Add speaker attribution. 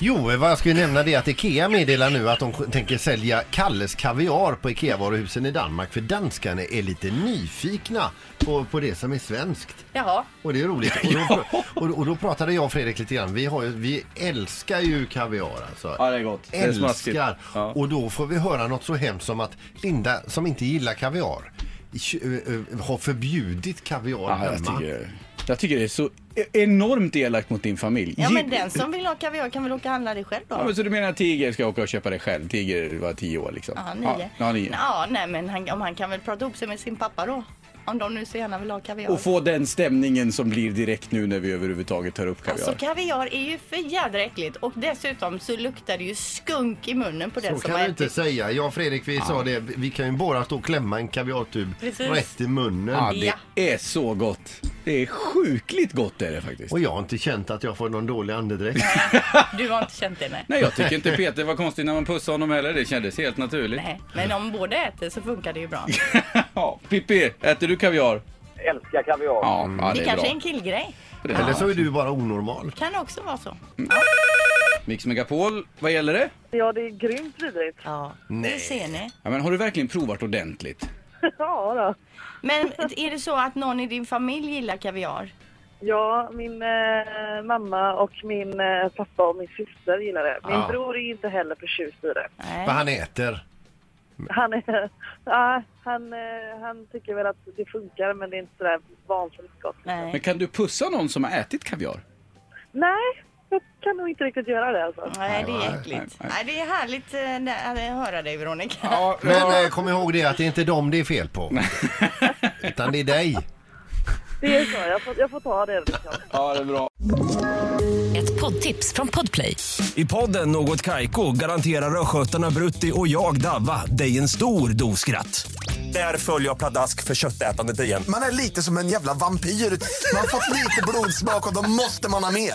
Speaker 1: Jo, vad jag skulle nämna det är att Ikea meddelar nu att de tänker sälja Kalles kaviar på Ikea-varuhusen i Danmark för danskarna är lite nyfikna på, på det som är svenskt.
Speaker 2: Jaha.
Speaker 1: Och det är roligt. Och då, och, och då pratade jag och Fredrik lite grann. Vi, har ju, vi älskar ju kaviar alltså.
Speaker 3: Ja, det är gott. Det är smaskigt.
Speaker 1: Älskar.
Speaker 3: Ja.
Speaker 1: Och då får vi höra något så hemskt som att Linda, som inte gillar kaviar, kö- ö- ö- har förbjudit kaviar
Speaker 3: Ja, jag,
Speaker 1: hemma.
Speaker 3: tycker, jag tycker det är så e- enormt elakt mot din familj.
Speaker 2: Ja
Speaker 3: Ge-
Speaker 2: men den som vill ha kaviar kan väl åka och handla det själv då?
Speaker 3: Ja, men så du menar att Tiger ska åka och köpa det själv? Tiger var tio år liksom.
Speaker 2: Ja, nio.
Speaker 3: Ja, nio.
Speaker 2: Ja, nej men han, om han kan väl prata ihop sig med sin pappa då. Om de nu så gärna vill ha kaviar.
Speaker 3: Och få den stämningen som blir direkt nu när vi överhuvudtaget tar upp kaviar.
Speaker 2: Alltså kaviar är ju för jädra äckligt och dessutom så luktar det ju skunk i munnen på den
Speaker 1: Så
Speaker 2: som typ.
Speaker 1: kan
Speaker 2: har
Speaker 1: du inte
Speaker 2: ätit.
Speaker 1: säga. Jag och Fredrik vi sa det, vi kan ju bara stå och klämma en kaviartub
Speaker 2: Precis.
Speaker 1: rätt i munnen.
Speaker 3: ja, det
Speaker 2: Ja.
Speaker 3: är så gott. Det är sjukligt gott är det faktiskt.
Speaker 1: Och jag har inte känt att jag får någon dålig andedräkt.
Speaker 2: Du har inte känt det nej.
Speaker 3: Nej, jag tycker inte Peter var konstig när man pussade honom heller. Det kändes helt naturligt.
Speaker 2: nej. Men om båda äter så funkar det ju bra.
Speaker 3: Ja, Pippi, äter du kaviar?
Speaker 4: älskar kaviar.
Speaker 3: Ja, ja
Speaker 2: Det,
Speaker 3: det är
Speaker 2: kanske är
Speaker 3: bra.
Speaker 2: en killgrej.
Speaker 1: Eller så är du bara onormal.
Speaker 2: Kan också vara så.
Speaker 3: Mix Megapol, vad gäller det?
Speaker 5: Ja, det är grymt vidrigt.
Speaker 2: Ja, det ser ni.
Speaker 3: Ja, men har du verkligen provat ordentligt?
Speaker 5: Ja, då.
Speaker 2: Men är det så att någon i din familj gillar kaviar?
Speaker 5: ja min eh, mamma och min eh, pappa och min syster gillar det. Min
Speaker 1: Ja.
Speaker 5: bror är inte heller förtjust i det.
Speaker 1: Vad
Speaker 2: Nej.
Speaker 1: han äter.
Speaker 5: Han, är, ja, han, eh, han tycker väl att det funkar, men det är inte sådär vansinnigt gott.
Speaker 3: Men
Speaker 2: Nej.
Speaker 3: kan du pussa någon som har ätit kaviar?
Speaker 5: Nej, jag kan nog inte riktigt göra det alltså.
Speaker 2: Nej, det är äckligt. Nej, det är härligt eh, att höra dig Veronica.
Speaker 3: Ja,
Speaker 1: Men eh, kom ihåg det att det är inte dem det är fel på. Utan det är dig.
Speaker 5: Det är så, jag får, jag får ta det. Liksom.
Speaker 3: ja, det är bra.
Speaker 6: Ett poddtips från Podplay.
Speaker 7: I podden Något Kaiko garanterar östgötarna Brutti och jag, Davva, dig en stor dos skratt. Där följer jag pladask för köttätandet igen.
Speaker 8: Man är lite som en jävla vampyr. Man har fått lite blodsmak och då måste man ha mer.